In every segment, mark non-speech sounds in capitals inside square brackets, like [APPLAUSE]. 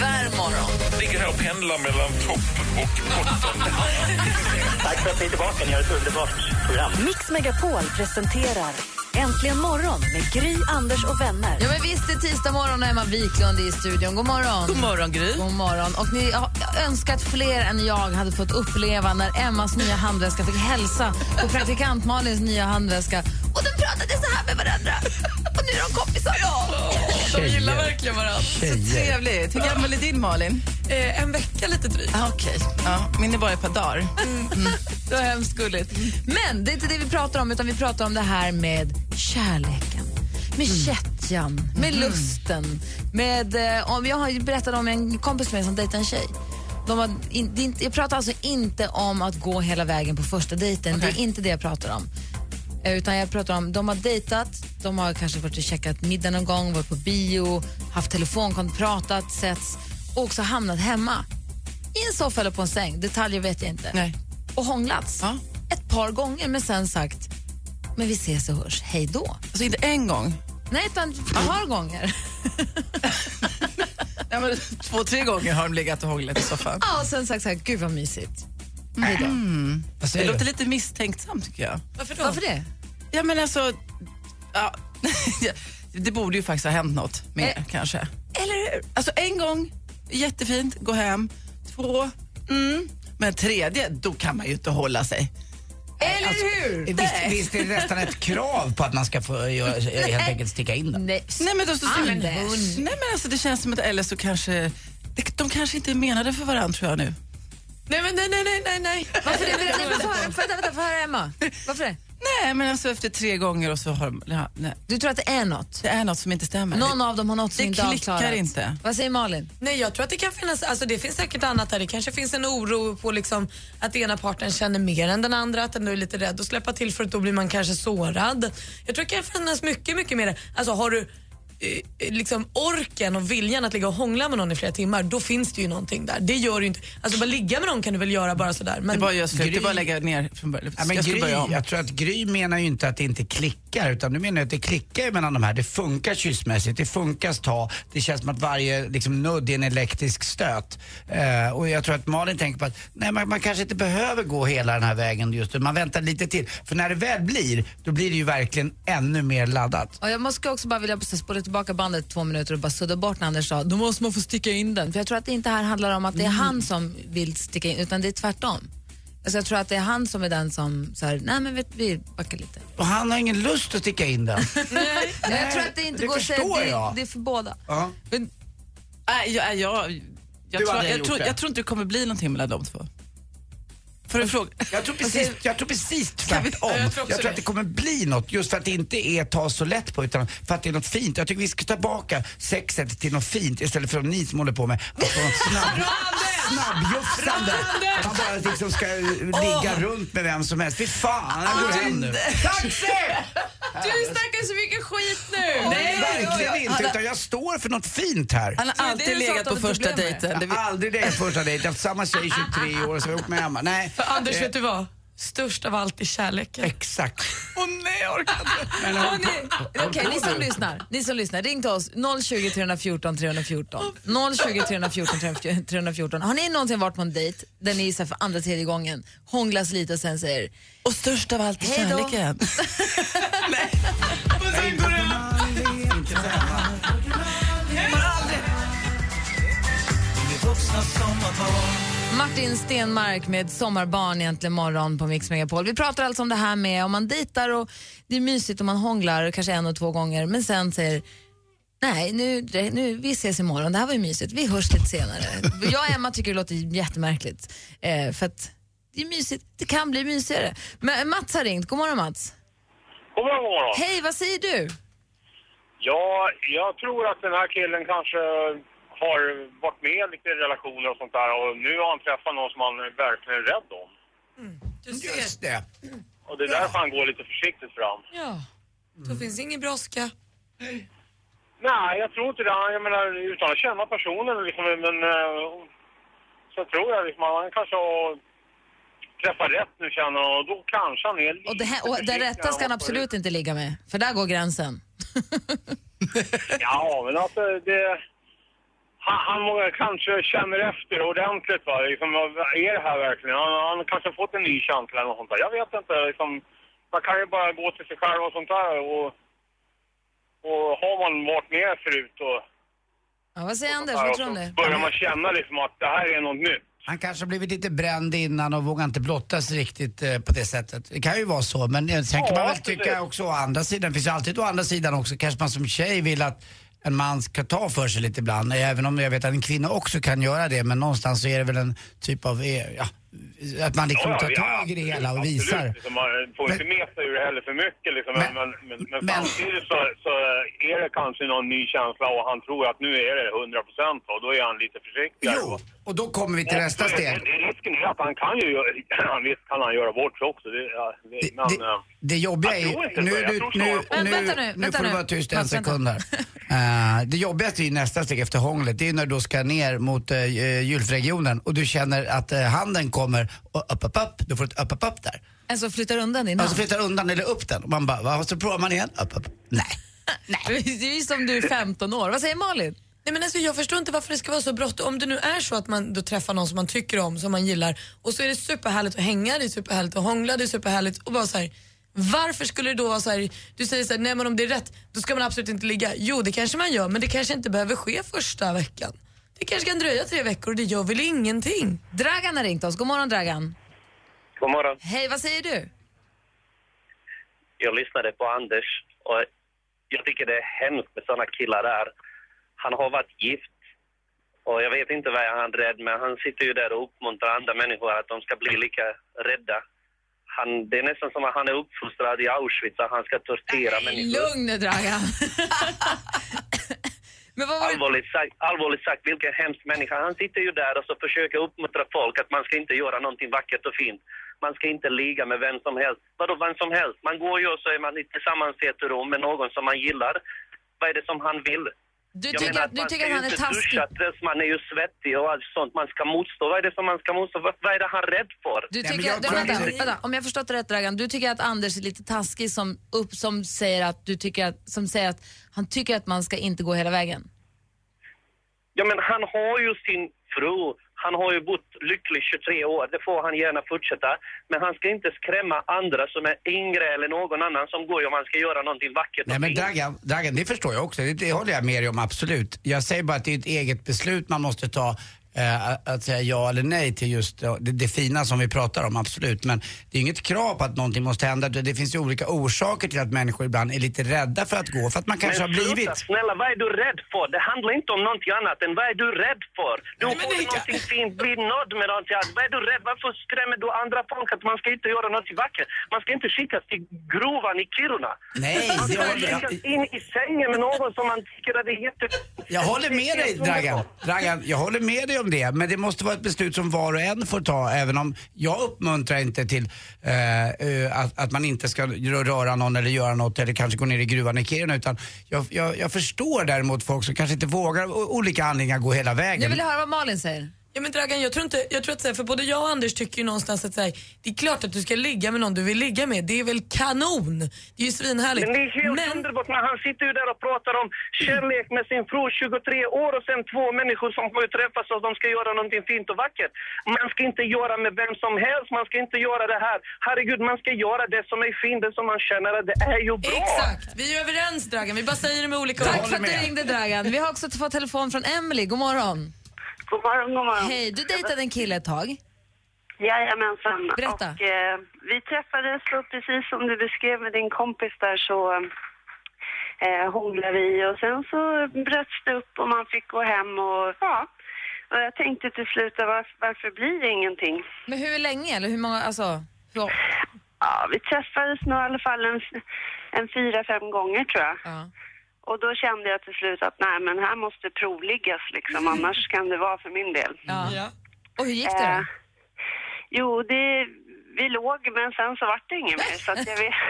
Varm morgon! ligger här och pendlar mellan topp och botten. Tack för att ni är tillbaka. Ni har ett underbart program. Mix Megapol presenterar Äntligen morgon med Gry, Anders och vänner. Ja, men visst, det är tisdag morgon och Emma Wiklund är i studion. God morgon! God morgon, Gry. God morgon. Och ni har önskat fler än jag hade fått uppleva när Emmas nya handväska fick hälsa på praktikant Malins nya handväska. Och de pratade så här med varandra. Och nu är de kompisar. De gillar verkligen varandra. Så trevligt. Hur gammal är din Malin? Eh, en vecka lite drygt. Ah, Okej. Ja, min är bara ett par dagar. Det var hemskt gulligt. Men det är inte det vi pratar om, utan vi pratar om det här med kärleken. Med kättjan, med lusten. Med, eh, om, jag har ju berättat om en kompis med mig som dejtade en tjej. De var in, det är inte, jag pratar alltså inte om att gå hela vägen på första dejten. Det är inte det jag pratar om. Eh, Utan jag pratar om, de har dejtat, de har kanske varit och checkat middag någon gång, varit på bio, haft telefonkontakt, pratat, setts och också hamnat hemma. I en soffa eller på en säng, detaljer vet jag inte Nej. och hånglats Ja. ett par gånger men sen sagt men vi ses och hörs, hej då. Alltså inte en gång. Nej, utan ett par gånger. Nej, men, [LAUGHS] två, tre gånger har de legat och hånglat i soffan. Ja, och sen sagt så här, gud vad mysigt. Mm. Hej då. Mm. Alltså, Det låter lite misstänksamt tycker jag. Varför det? Ja, men alltså... Ja, [LAUGHS] det borde ju faktiskt ha hänt något mer Eh. kanske. Eller hur? Alltså en gång, jättefint, gå hem. Två, mm. Men tredje, då kan man ju inte hålla sig. Eller hur? Visst, visst är det nästan ett krav på att man ska få göra, helt enkelt sticka in den? Nej, Nej men, då, så, Fan, men, Anders. nej men alltså det känns som att eller så kanske de- de kanske inte är menade för varandra tror jag nu. Nej, men nej, nej, nej, nej, nej. varför det? Nej, men Får jag höra- får jag- vänta, får jag höra Emma? Varför det? Nej men alltså efter tre gånger och så har de, ja, nej, Du tror att det är något? det är något som inte stämmer. Någon av dem har något som Det inte klickar avklarat. inte. Vad säger Malin? Nej, jag tror att det kan finnas, alltså det finns säkert annat där. Det kanske finns en oro på liksom att ena parten känner mer än den andra, att den är lite rädd att släppa till för att då blir man kanske sårad. Jag tror att det kan finnas mycket, mycket mer. Alltså har du eh, liksom orken och viljan att ligga och hångla med någon i flera timmar, då finns det ju någonting där. Det gör du inte. Alltså bara ligga med någon kan du väl göra bara sådär. det Men är bara att göra slut, det är Gry- bara att lägga ner från början. Ja, men jag ska Gry, börja om. jag tror att Gry menar ju inte att det inte klickar utan du menar att det klickar ju mellan de här. Det funkar kyssmässigt, det funkar ta, det känns som att varje liksom, nudd är en elektrisk stöt. Eh, och jag tror att Malin tänker på att nej, man, man kanske inte behöver gå hela den här vägen just nu, man väntar lite till. För när det väl blir, då blir det ju verkligen ännu mer laddat. Och jag måste också bara vilja precis spola tillbaka bandet två minuter och bara sudda bort när Anders sa då måste man få sticka in den. För jag tror att det inte här handlar om att det är han som vill sticka in utan det är tvärtom. Alltså jag tror att det är han som är den som så här, nej men vet, vi backar lite. Och han har ingen lust att sticka in den. Nej, jag tror att det inte det går att säga, förstår det, jag. det är för båda. Ja. Men, Nej, jag, jag, jag, Du tror, hade jag, gjort tror, det. jag tror inte det kommer bli någonting mellan de två. Får du fråga? Jag tror precis, jag tror precis tvärtom. Ja, Jag jag tror, tror också att det kommer bli något just för att det inte är att ta så lätt på utan för att det är något fint. Jag tycker vi ska ta tillbaka sexet till något fint istället för som ni som håller på med att få något snabb, snabbjufsande. Man bara liksom ska eh, ligga runt med vem som helst. Fy fan, jag går hem nu. Taxi! du snackar så mycket skit [LAUGHS] nu! Nej, verkligen inte. Utan jag står för något fint här. [LAUGHS] Han har det du alltid sa att legat du på hade första problem med. dejten. Det Jag har vi- aldrig legat på första dejt. Jag har haft samma tjej i 23 år och så har jag åkt med Emma. Nej. För Anders, vet du vad? Störst av allt är kärleken. Exakt. Åh nej, jag orkar inte. Men, Okej, ni som lyssnar, ni som lyssnar, ring till oss 020 314 314. 020 314 314. Har ni någonsin varit på en dejt där ni är så här för andra, tredje gången, hånglas lite och sen säger Och störst av allt är Hej då. [LAUGHS] kärleken. Martin Stenmark med Sommarbarn egentligen morgon på Mix Megapol. Vi pratar alltså om det här med om man dejtar och det är mysigt och man hånglar kanske en och två gånger men sen säger Nej, nu, nu, vi ses imorgon. Det här var ju mysigt. Vi hörs lite senare. Jag och Emma tycker det låter jättemärkligt. Eh, för att det är mysigt. Det kan bli mysigare. Men Mats har ringt. God morgon Mats. God morgon, god morgon. Hej, vad säger du? Ja, jag tror att den här killen kanske har varit med i lite relationer och sånt där och nu har han träffat någon som han är verkligen rädd om. Du ser. Just det. Och det är därför han går lite försiktigt fram. Ja. Då finns ingen brådska. Nej, jag tror inte det. Jag menar, utan att känna personen liksom, men eh, så tror jag liksom att han kanske har träffat rätt nu känner jag, och då kanske han är lite Och det, här, och det försiktigare rätta ska än han vad förut. absolut inte ligga med, för där går gränsen. Ja, men alltså det... Han, han må- kanske känner efter ordentligt va, liksom, vad är det här verkligen? Han, han kanske har fått en ny känsla eller något sånt där. Jag vet inte liksom, man kan ju bara gå till sig själv och sånt där och... Och har man varit med förut och, Ja, vad säger Anders? och Vad så tror du om det? börjar man känna liksom att det här är något nytt. Han kanske har blivit lite bränd innan och vågar inte blottas riktigt eh, på det sättet. Det kan ju vara så, men eh, sen kan Ja, man väl absolut. tycka också å andra sidan, det finns ju alltid å andra sidan också, kanske man som tjej vill att en man ska ta för sig lite ibland, eh, även om jag vet att en kvinna också kan göra det, men någonstans så är det väl en typ av, eh, ja, att man liksom tar tag i det hela och absolut, visar. Liksom, man får inte meta ur det heller för mycket liksom, men, men, men, men, men- samtidigt så, så är det kanske någon ny känsla och han tror att nu är det 100 procent och då är han lite försiktigare. Jo, och då kommer vi till nästa Och- steg. och- och Risken är att han kan ju, göra- visst kan [CLEARS THROAT] han göra bort sig också. Det, ja, det, Det, men, det, eh, det jobbiga jag tror är inte nu, så. är Jag du, tror nu, snarare på- Men vänta nu, nu, nu vänta får du nu. vara tyst en Mats, vänta. sekund här. Eh, det jobbigaste är ju nästa steg efter hånglet, det är ju när du då ska ner mot uh, julfregionen och du känner att eh, handen kommer och upp, upp, upp, du får ett upp, upp, upp där. Alltså flyttar undan innan. Och så flyttar undan eller upp den och man bara, va? Och så provar man igen, upp, upp, nej. det är ju som du är 15 år. Vad säger Malin? Nej, men alltså, jag förstår inte varför det ska vara så bråttom. Om det nu är så att man då träffar någon som man tycker om, som man gillar och så är det superhärligt att hänga, det är superhärligt att hångla, det är superhärligt och bara så här. Varför skulle det då vara så här, du säger så här, nej men om det är rätt, då ska man absolut inte ligga. Jo, det kanske man gör, men det kanske inte behöver ske första veckan. Det kanske kan dröja tre veckor och det gör väl ingenting. Dragan har ringt oss. God morgon Dragan. God morgon. Hej, vad säger du? jag lyssnade på Anders och jag tycker det är hemskt med såna killar där. Han har varit gift och jag vet inte vad han är rädd men han sitter ju där och uppmuntrar andra människor att de ska bli lika rädda. Han, det är nästan som att han är uppfostrad i Auschwitz att han ska tortera människor. Lugn nu Dragan. [LAUGHS] Men vad var det? Allvarligt sagt, allvarligt sagt, vilken hemsk människa. Han sitter ju där och så försöker uppmuntra folk att man ska inte göra någonting vackert och fint. Man ska inte ligga med vem som helst. Vadå vem som helst? Man går ju och så är man tillsammans i ett rum med någon som man gillar. Vad är det som han vill? Du tycker, att, du tycker att han är Man ska taskig? ju inte duscha tills man är ju svettig och allt sånt. Man ska motstå. Vad är det som man ska motstå? Vad, vad är det han är rädd för? Du Nej, men tycker, jag att- tror vänta, inte- vänta, om jag förstått det rätt Dragan, du tycker att Anders är lite taskig som, upp, som, säger att du tycker att, som säger att han tycker att man ska inte gå hela vägen. Ja, men han har ju sin fru. Han har ju bott lycklig 23 år. Det får han gärna fortsätta. Men han ska inte skrämma andra som är yngre eller någon annan som går om han ska göra någonting vackert. Nej och men fint. Dragan, Dragan, det förstår jag också. Det, det håller jag med dig om absolut. Jag säger bara att det är ett eget beslut man måste ta. Eh, att säga ja eller nej till just eh, det, det fina som vi pratar om, absolut. Men det är inget krav på att någonting måste hända. Det, det finns ju olika orsaker till att människor ibland är lite rädda för att gå. För att man kanske har men blivit... sluta, snälla, vad är du rädd för? Det handlar inte om någonting annat än vad är du rädd för? Du Nej, men får Erika- någonting fint, bli nådd med någonting annat. Vad är du rädd? Varför skrämmer du andra folk att man ska inte göra något vackert? Man ska inte skickas till grovan i Kiruna. Nej, Man det ska håller jag... skickas liksom in i sängen med någon som man tycker att det är jätte... Jag håller med dig Dragan. Dragan, jag håller med dig om det. Men det måste vara ett beslut som var och en får ta. Även om jag uppmuntrar inte till eh, eh, att, att man inte ska rö- röra någon eller göra något eller kanske gå ner i gruvan i Kiruna. Utan jag, jag, jag förstår däremot folk som kanske inte vågar av olika anledningar gå hela Nu vägen. vill jag höra vad Malin säger. Ja men Dragan, jag tror inte, jag tror att så här, för både jag och Anders tycker ju någonstans att så här, det är klart att du ska ligga med någon du vill ligga med. Det är väl kanon? Det är ju svinhärligt. Men det är helt underbart när han sitter ju där och pratar om kärlek med sin fru 23 år och sen två människor som kommer träffas och de ska göra någonting fint och vackert. Man ska inte göra med vem som helst, man ska inte göra det här. Herregud, man ska göra det som är fint, det som man känner att det är ju bra. Exakt, vi är överens Dragan, vi bara säger det med olika ord. håller Tack för att du med. ringde Dragan. Vi har också fått telefon från Emily. God morgon. God morgon, god morgon. Hej, du dejtade en kille ett tag. Jajamensan. Berätta. Och, eh, vi träffades och precis som du beskrev med din kompis där så eh, hånglade vi och sen så bröts det upp och man fick gå hem och ja. Och jag tänkte till slut, varför, varför blir det ingenting? Men hur länge eller hur många, alltså? Hur, Ja, vi träffades nog i alla fall en, f- en fyra, fem gånger tror jag. ja. Och då kände jag till slut att nej, men här måste provliggas liksom, [LAUGHS] annars kan det vara för min del. Och hur gick det då? Eh, jo, det, vi låg, men sen så vart det inget mer. Så att jag vet. [LAUGHS]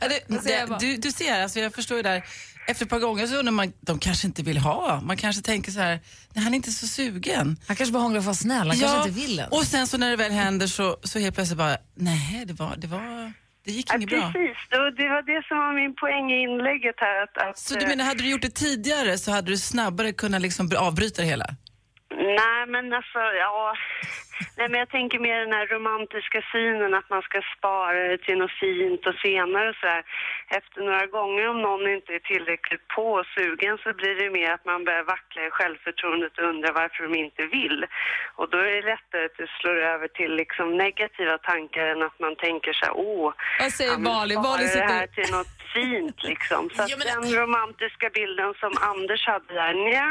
Ja, det, det, du, du ser, alltså jag förstår ju där. Efter ett par gånger så undrar man, de kanske inte vill ha. Man kanske tänker så här, nej, han är inte så sugen. Han kanske bara hånglar för att vara snäll, han kanske inte vill än. Och sen så när det väl händer så, så helt plötsligt bara, nej det var, det var, det gick inget bra. Precis, då, det var det som var min poäng i inlägget här. Att, att, Så du menar, hade du gjort det tidigare så hade du snabbare kunnat liksom br- avbryta det hela? Nej, men alltså, ja. Nej, men jag tänker mer den här romantiska synen att man ska spara det till något fint och senare och så här. Efter några gånger om någon inte är tillräckligt på och sugen så blir det mer att man börjar vackla i självförtroendet och undrar varför de inte vill. Och då är det lättare att det slår över till liksom negativa tankar än att man tänker så här, åh, Vad säger men Bali? spara Bali det här sitter... till något fint liksom. Så att den romantiska bilden som Anders hade där, nja.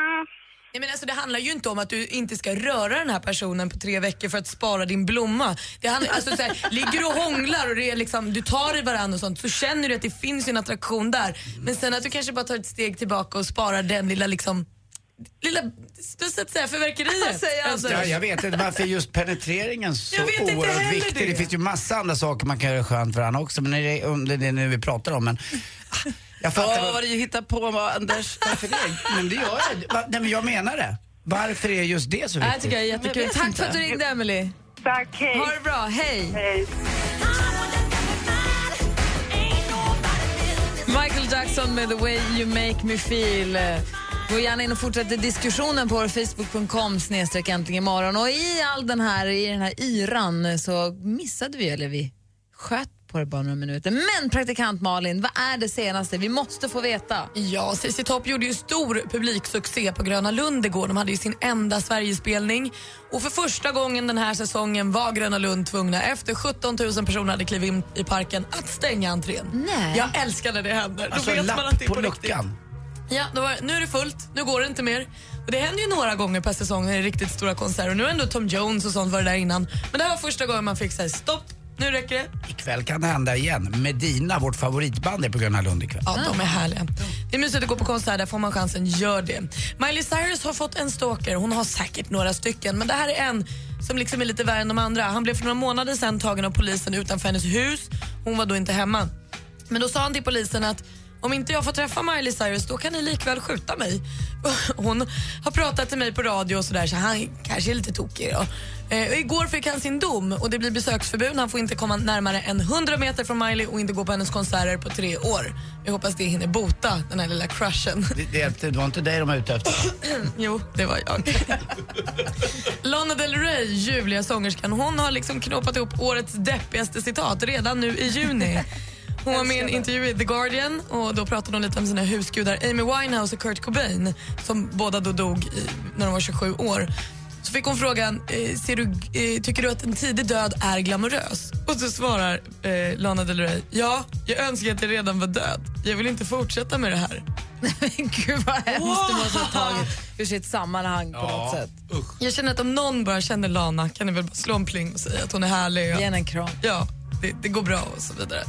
Nej, men alltså, det handlar ju inte om att du inte ska röra den här personen på tre veckor för att spara din blomma. Det handlar, alltså, så här, ligger du och hånglar och det är liksom, du tar i varandra och sånt så känner du att det finns ju en attraktion där. Men sen att du kanske bara tar ett steg tillbaka och sparar den lilla liksom Lilla, så att säga, förverkeriet. Ja, jag vet inte varför just penetreringen är så Jag vet inte oerhört heller viktig. Det. det. finns ju massa andra saker man kan göra skönt för varandra också, men det är om det är det nu vi pratar om. Men ah, jag Åh, fattar vad- vad du hittar på Anders. Varför det? Men det gör jag. Va? Nej, men jag menar det. Varför är just det så Nej, viktigt? jag tycker jag är jättekul. Tack för att du ringde, Emily. Tack, hej. Ha det bra, hej. Michael Jackson med The Way You Make Me Feel. Gå gärna in och fortsätt diskussionen på vår facebook.com snedstreck äntligen imorgon. Och i all den här, i den här yran så missade vi, eller vi sköt på det bara några minuter. Men praktikant Malin, vad är det senaste? Vi måste få veta. [LAUGHS] Ja, ZZ Top gjorde ju stor publiksuccé på Gröna Lund igår. De hade ju sin enda Sverigespelning. Och för första gången den här säsongen var Gröna Lund tvungna, efter 17 000 personer hade klivit in i parken, att stänga entrén. Nej. Jag älskar när det händer. Då Alltså vet man lapp att det är på, på riktigt. luckan. Ja, då var, nu är det fullt, nu går det inte mer. Och det händer ju några gånger per säsong när det är riktigt stora konserter. Nu har ändå Tom Jones och sånt varit där innan. Men det här var första gången man fick säga stopp, nu räcker det. Ikväll kan det hända igen. Medina, vårt favoritband, är på Gröna Lund ikväll. Ja, de är härliga. Det är mysigt att gå på konsert, där får man chansen, gör det. Miley Cyrus har fått en stalker, hon har säkert några stycken, men det här är en som liksom är lite värre än de andra. Han blev för några månader sedan tagen av polisen utanför hennes hus. Hon var då inte hemma. Men då sa han till polisen att om inte jag får träffa Miley Cyrus då kan ni likväl skjuta mig. [LAUGHS] Hon har pratat till mig på radio och sådär så han kanske är lite tokig då. Eh, och igår fick han sin dom och det blir besöksförbud. Han får inte komma närmare än 100 meter från Miley och inte gå på hennes konserter på tre år. Jag hoppas det hinner bota den här lilla crushen. Det, det, hjälpte, det var inte dig de var ute efter. jo, det var jag. [LAUGHS] Lana Del Rey, ljuvliga sångerskan, hon har liksom knåpat ihop årets deppigaste citat redan nu i juni. Hon var med i en intervju i The Guardian och då pratade hon lite om sina husgudar Amy Winehouse och Kurt Cobain som båda då dog i, när de var 27 år. Så fick hon frågan, eh, ser du, eh, tycker du att en tidig död är glamorös? Och så svarar eh, Lana Del Rey, ja, jag önskar att jag redan var död. Jag vill inte fortsätta med det här. Gud vad hemskt det måste ha tagit ur sitt sammanhang på något sätt. Jag känner att om någon bara känner Lana kan ni väl bara slå en pling och säga att hon är härlig. Ge Och henne att, en kram. ja, det, det går bra och så vidare.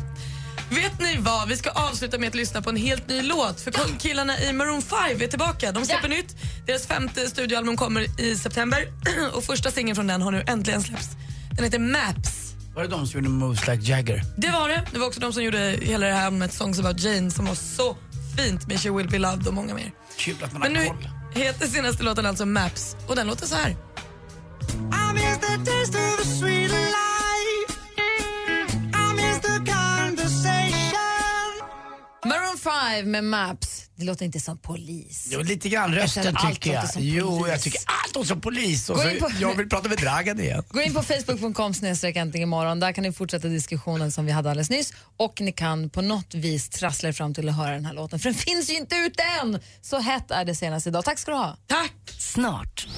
Vet ni vad? Vi ska avsluta med att lyssna på en helt ny låt. För killarna i Maroon 5 är tillbaka. De släpper nytt. Deras femte studioalbum kommer i september. [CLEARS THROAT] och första singeln från den har nu äntligen släppts. Den heter Maps. Var det de som gjorde Moves Like Jagger? Det var det. Det var också de som gjorde hela det här med Songs about Jane som var så fint med She will be loved och många mer. Kul att man Men har nu koll. heter senaste låten alltså Maps och den låter så här. Maroon 5 med Maps. Det låter inte som polis. Jo, lite grann Jag rösten känner allt tycker jag. låter som Jo, polis. jag tycker allt låter som polis. Och Gå så, in på- Jag vill prata med Dragan igen. Gå in på facebook.com snedstreck äntligen imorgon. Där kan ni fortsätta diskussionen som vi hade alldeles nyss och ni kan på något vis trassla er fram till att höra den här låten för den finns ju inte ute än. Så hett är det senast idag. Tack ska du ha. Tack! Snart.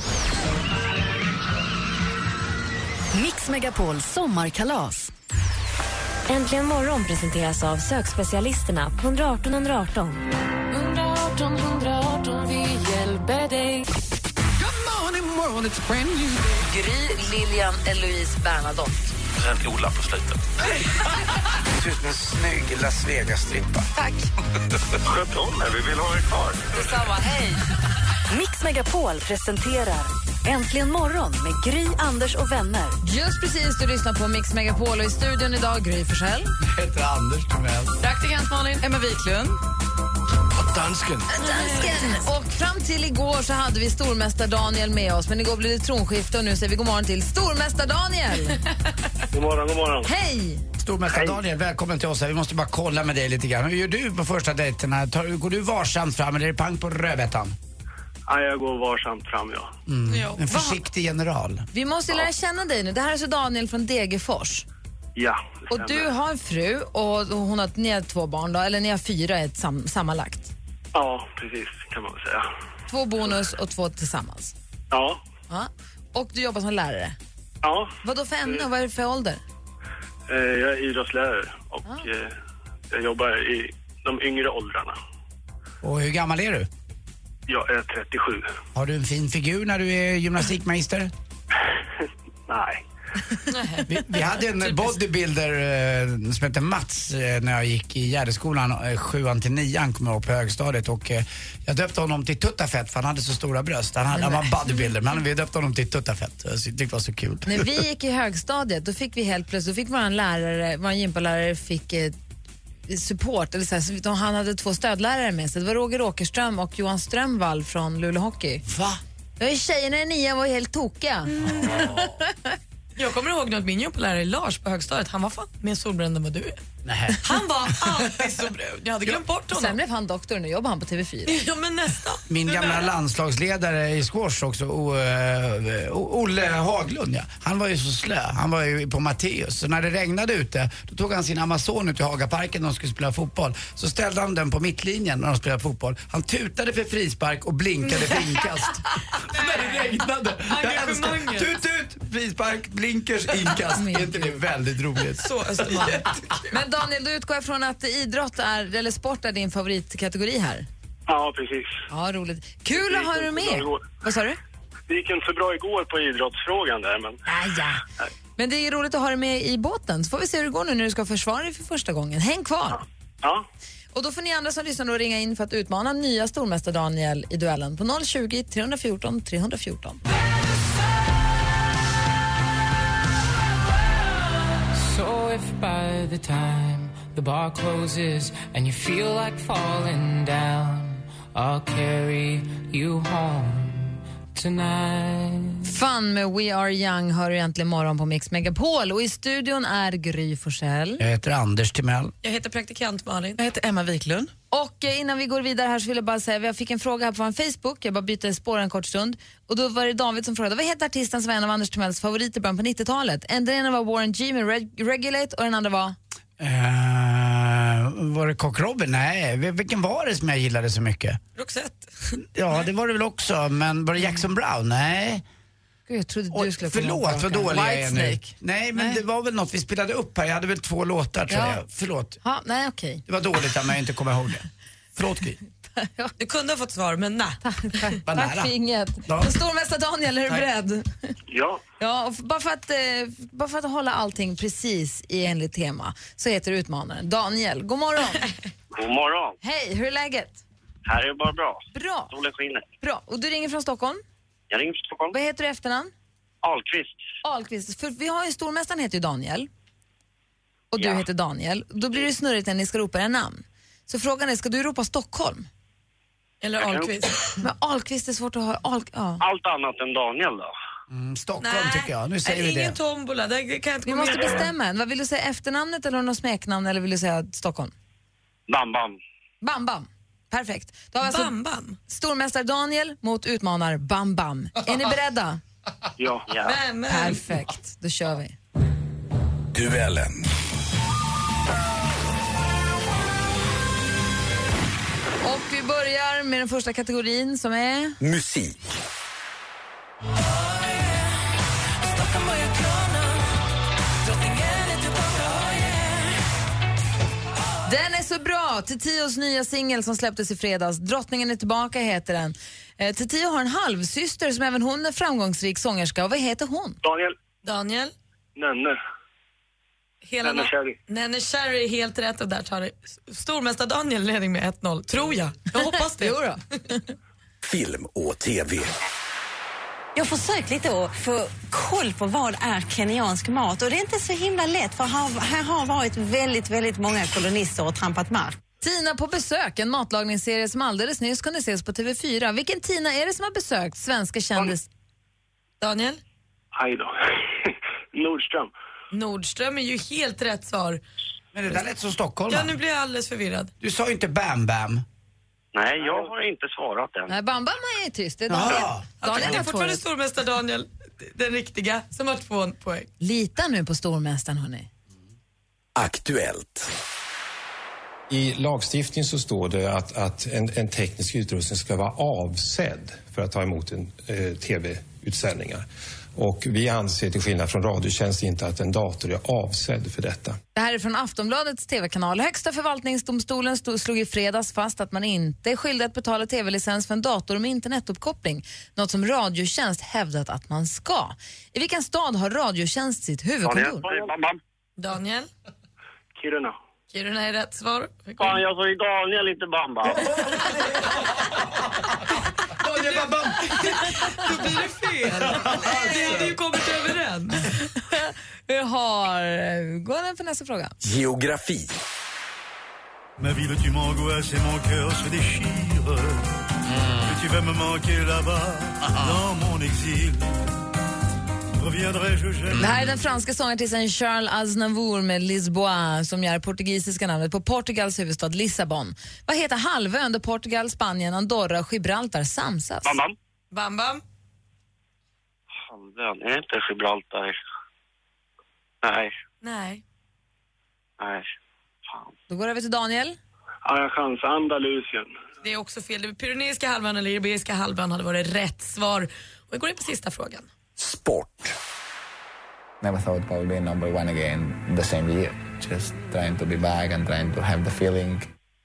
Mix Megapol sommarkalas. Äntligen morgon presenteras av sökspecialisterna på 118 118. 118 118, vi hjälper dig. Good morning, world. show and it's brand new. Gry, Lilian, Eloise, Bernadotte. Sen Ola på slutet. Du ser ut som en snygg Las Vegas-strippa. Tack. Sköt om er, vi vill ha er kvar. Detsamma, hej. Mix Megapol presenterar Äntligen morgon med Gry, Anders och vänner. Just precis, du lyssnar på Mix Megapol och i studion idag Gry Forssell. Jag heter Anders Timell. Praktikant Malin. Emma Wiklund. Och dansken. Och fram till igår så hade vi stormästare Daniel med oss men igår blev det tronskifte och nu säger vi god morgon till stormästare Daniel. God morgon, god morgon. Hej! Stormästare Daniel, välkommen till oss. här. Vi måste bara kolla med dig lite grann. Hur gör du på första dejterna? Tar, går du varsamt fram eller är det pang på rödbetan? Ja, jag går varsamt fram, ja. Mm. En försiktig general. Vi måste lära känna dig nu. Det här är så Daniel från Degerfors. Ja, det Och du stämmer. har en fru och hon har, ni har två barn då, eller ni har fyra ett sam, sammanlagt. Ja, precis kan man väl säga. Två bonus och två tillsammans. Ja, Ja. Och du jobbar som lärare. ja. Vad då för ämne och vad är det för ålder? Eh, Jag är idrottslärare och eh, jag jobbar i de yngre åldrarna. Och hur gammal är du? Jag är 37. Har du en fin figur när du är gymnastikmeister? Nej. Vi, vi hade en bodybuilder eh, som hette Mats eh, när jag gick i Gärdeskolan, eh, sjuan till nian kom jag upp på högstadiet och eh, jag döpte honom till Tuttafett för han hade så stora bröst. Han, hade, han var bodybuilder men vi döpte honom till Tuttafett. Jag tyckte det var så kul. När vi gick i högstadiet då fick vi helt plötsligt, då fick våran lärare, våran gympalärare fick eh, support, eller så här, så de- han hade två stödlärare med sig. Det var Roger Åkerström och Johan Strömvall från Luleå Hockey. Va? Det var ju tjejerna i nian var ju helt tokiga. Jag kommer ihåg något min gympalärare Lars på högstadiet, han var fan mer solbränd än vad du är. Nej. Han var alltid så brun. Jag hade glömt bort Sen honom. blev han doktor, nu jobbar han på [LAUGHS] TV4. Ja men nästan. Min Det gamla där. landslagsledare i squash också, o, eh, o, Olle Haglund, ja. han var ju så slö. Han var ju på Matteus. Så när det regnade ute, då tog han sin Amazon ut i Hagaparken när de skulle spela fotboll. Så ställde han den på mittlinjen när de spelade fotboll. Han tutade för frispark [LAUGHS] och blinkade för inkast. när det regnade. Jag älskar Engagemanget. Tut, tut! Frispark, blinkers, inkast. Min är inte det väldigt roligt? Så Östermalm. Men Daniel, du utgår jag från att idrott är, eller sport är din favoritkategori här? Ja, precis. Ja, roligt. Kul att ha dig med. Vad sa du? Det gick inte så bra igår på idrottsfrågan där, men Ah, ja. Men det är roligt att ha dig med i båten, så får vi se hur det går nu när du ska försvara dig för första gången. Häng kvar! ja. Och då får ni andra som lyssnar då ringa in för att utmana nya stormästare Daniel i duellen på 020 314 314. So if by the time the bar closes and you feel like falling down I'll carry you home tonight Fun med We Are Young hör du äntligen morgon på Mix Megapol och i studion är Gry Forssell. Jag heter Anders Timell. Jag heter praktikant Malin. Jag heter Emma Wiklund. Och eh, innan vi går vidare här så vill jag bara säga, jag fick en fråga här på en Facebook, jag bara bytte spår en kort stund. Och då var det David som frågade, vad hette artisten som var en av Anders Timells favoriter i början på 90-talet? En- Den ena var Warren G med Reg- Regulate och den andra var? Eh, var det Kock Robin? Nej, vilken var det som jag gillade så mycket? Roxette. Ja, det var det väl också, men var det Jackson Brown? Nej. Gud, jag trodde Oj, du skulle komma ihåg förlåt, vad raka. dålig jag är nu. Whitesnake. Nej, men det var väl något vi spelade upp här. Jag hade väl två låtar tror Ja. jag. Förlåt. Ja, nej okej. Det var dåligt av mig att inte komma ihåg det. Förlåt Gry. Du kunde ha fått svar men nej. Vad Tack nära. för inget. Ja. Men Stormästare Daniel, är du Tack. beredd? Ja, Ja, och f- bara, för att, eh, bara för att hålla allting precis i enligt tema så heter utmanaren Daniel. God morgon! god morgon. Hej, hur är läget? Här är det bara bra. Bra, Solen skiner. bra. Och du ringer från Stockholm. Jag ringer från Stockholm. Vad heter du i efternamn? Ahlqvist. Ahlqvist. För vi har ju stormästaren heter ju Daniel. Och du Ja. heter Daniel. Då blir det ju snurrigt när ni ska ropa era namn. Så frågan är, ska du ropa Stockholm? Eller kan- Ahlqvist. Men Ahlqvist är svårt att höra. Ahl... Ja. Allt annat än Daniel då. Mm, Stockholm Nej. tycker jag. Nu säger Nej, vi Ingen det. tombola, det kan jag inte Vi gå måste med på. bestämma en. Vad vill du säga, efternamnet eller har du något smeknamn eller vill du säga Stockholm? Bam, bam. Bam, bam. Perfekt. Då har vi alltså Bam, bam. stormästare Daniel mot utmanar Bam, bam. [LAUGHS] Är ni beredda? Ja, ja. Men, men. Perfekt, då kör vi. Duellen. Och vi börjar med den första kategorin som är... Musik. Den är så så bra! Titios nya singel som släpptes i fredags, Drottningen är tillbaka heter den. Eh, Titio har en halvsyster som även hon är framgångsrik sångerska. Och vad heter hon? Daniel, Daniel, Nenne. hela Nenne na- Cherry. Nenne Cherry är helt rätt och där tar det stormästare Daniel ledning med 1-0, tror jag. Jag hoppas [LAUGHS] det. jo då. Film och TV. Jag försöker lite att få koll på vad är kenyansk mat och det är inte så himla lätt för här, här har varit väldigt, väldigt många kolonister och trampat mark. Tina på besök, en matlagningsserie som alldeles nyss kunde ses på TV4. Vilken Tina är det som har besökt svenska kändis... Daniel? Aj då. [LAUGHS] Nordström. Nordström är ju helt rätt svar. Men det där lät som Stockholm. Ja, nu blir jag alldeles förvirrad. Du sa ju inte Bam Bam. Nej, jag har inte svarat än. Nej, Bamba är tyst. Det är Daniel. Ja. Okej, Daniel det är har två fortfarande rätt. stormästare Daniel, den riktiga, som har två poäng. Lita nu på stormästaren, hörni. Aktuellt. I lagstiftningen så står det att, att en, en teknisk utrustning ska vara avsedd för att ta emot en, eh, tv-utsändningar. Och vi anser till skillnad från Radiotjänst inte att en dator är avsedd för detta. Det här är från Aftonbladets TV-kanal. Högsta förvaltningsdomstolen stod, slog i fredags fast att man inte är skyldig att betala TV-licens för en dator med internetuppkoppling, något som Radiotjänst hävdat att man ska. I vilken stad har Radiotjänst sitt huvudkontor? Daniel. Bam, bam. Daniel? Kiruna. Kiruna är rätt svar. Fan, jag sa ju Daniel, inte Bam Bam. Daniel Bam Bam! [LAUGHS] Då blir det fel. Vi hade ju kommit överens. [LAUGHS] Vi har... Gå den för nästa fråga. Geografi. Ma vie, le tu m'angoisses et mon cœur se déchire. Mm. Que tu vas me manquer là-bas, dans mon exil. Reviendrai-je Det här är jamais den franska sångartisten Charles Aznavour med Lisboa som gör portugisiska namnet på Portugals huvudstad Lissabon. Vad heter halvön där Portugal, Spanien, Andorra och Gibraltar samsas? Bam Bam. Bam Bam? Halvön, är inte Gibraltar? Nej, Nej. nej. Då går det över till Daniel. Ja, jag chansar. Andalusien. Det är också fel. Det Pyreneiska halvön eller Iberiska halvön hade varit rätt svar. Och vi går in på sista frågan. Never thought about being number one again the same year. Just trying to be back and trying to have the feeling.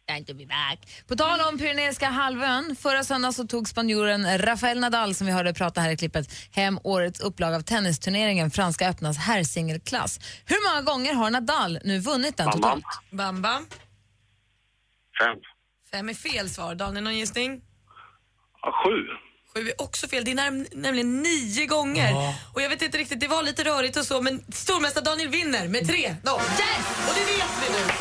Time to be back. På tal om Pyreneiska halvön, förra söndagen så tog spanjoren Rafael Nadal, som vi hörde prata här i klippet, hem årets upplaga av tennisturneringen Franska öppnas herrsingelklass. Hur många gånger har Nadal nu vunnit den Bam, bam. totalt? Bam Bam? Fem. Fem är fel svar. Daniel, någon gissning? Ja, sju. Sju är också fel. Det är näm- nämligen nio gånger. Och jag vet inte riktigt, det var lite rörigt och så, men stormästare Daniel vinner med 3-0. Yes! Och det vet vi nu.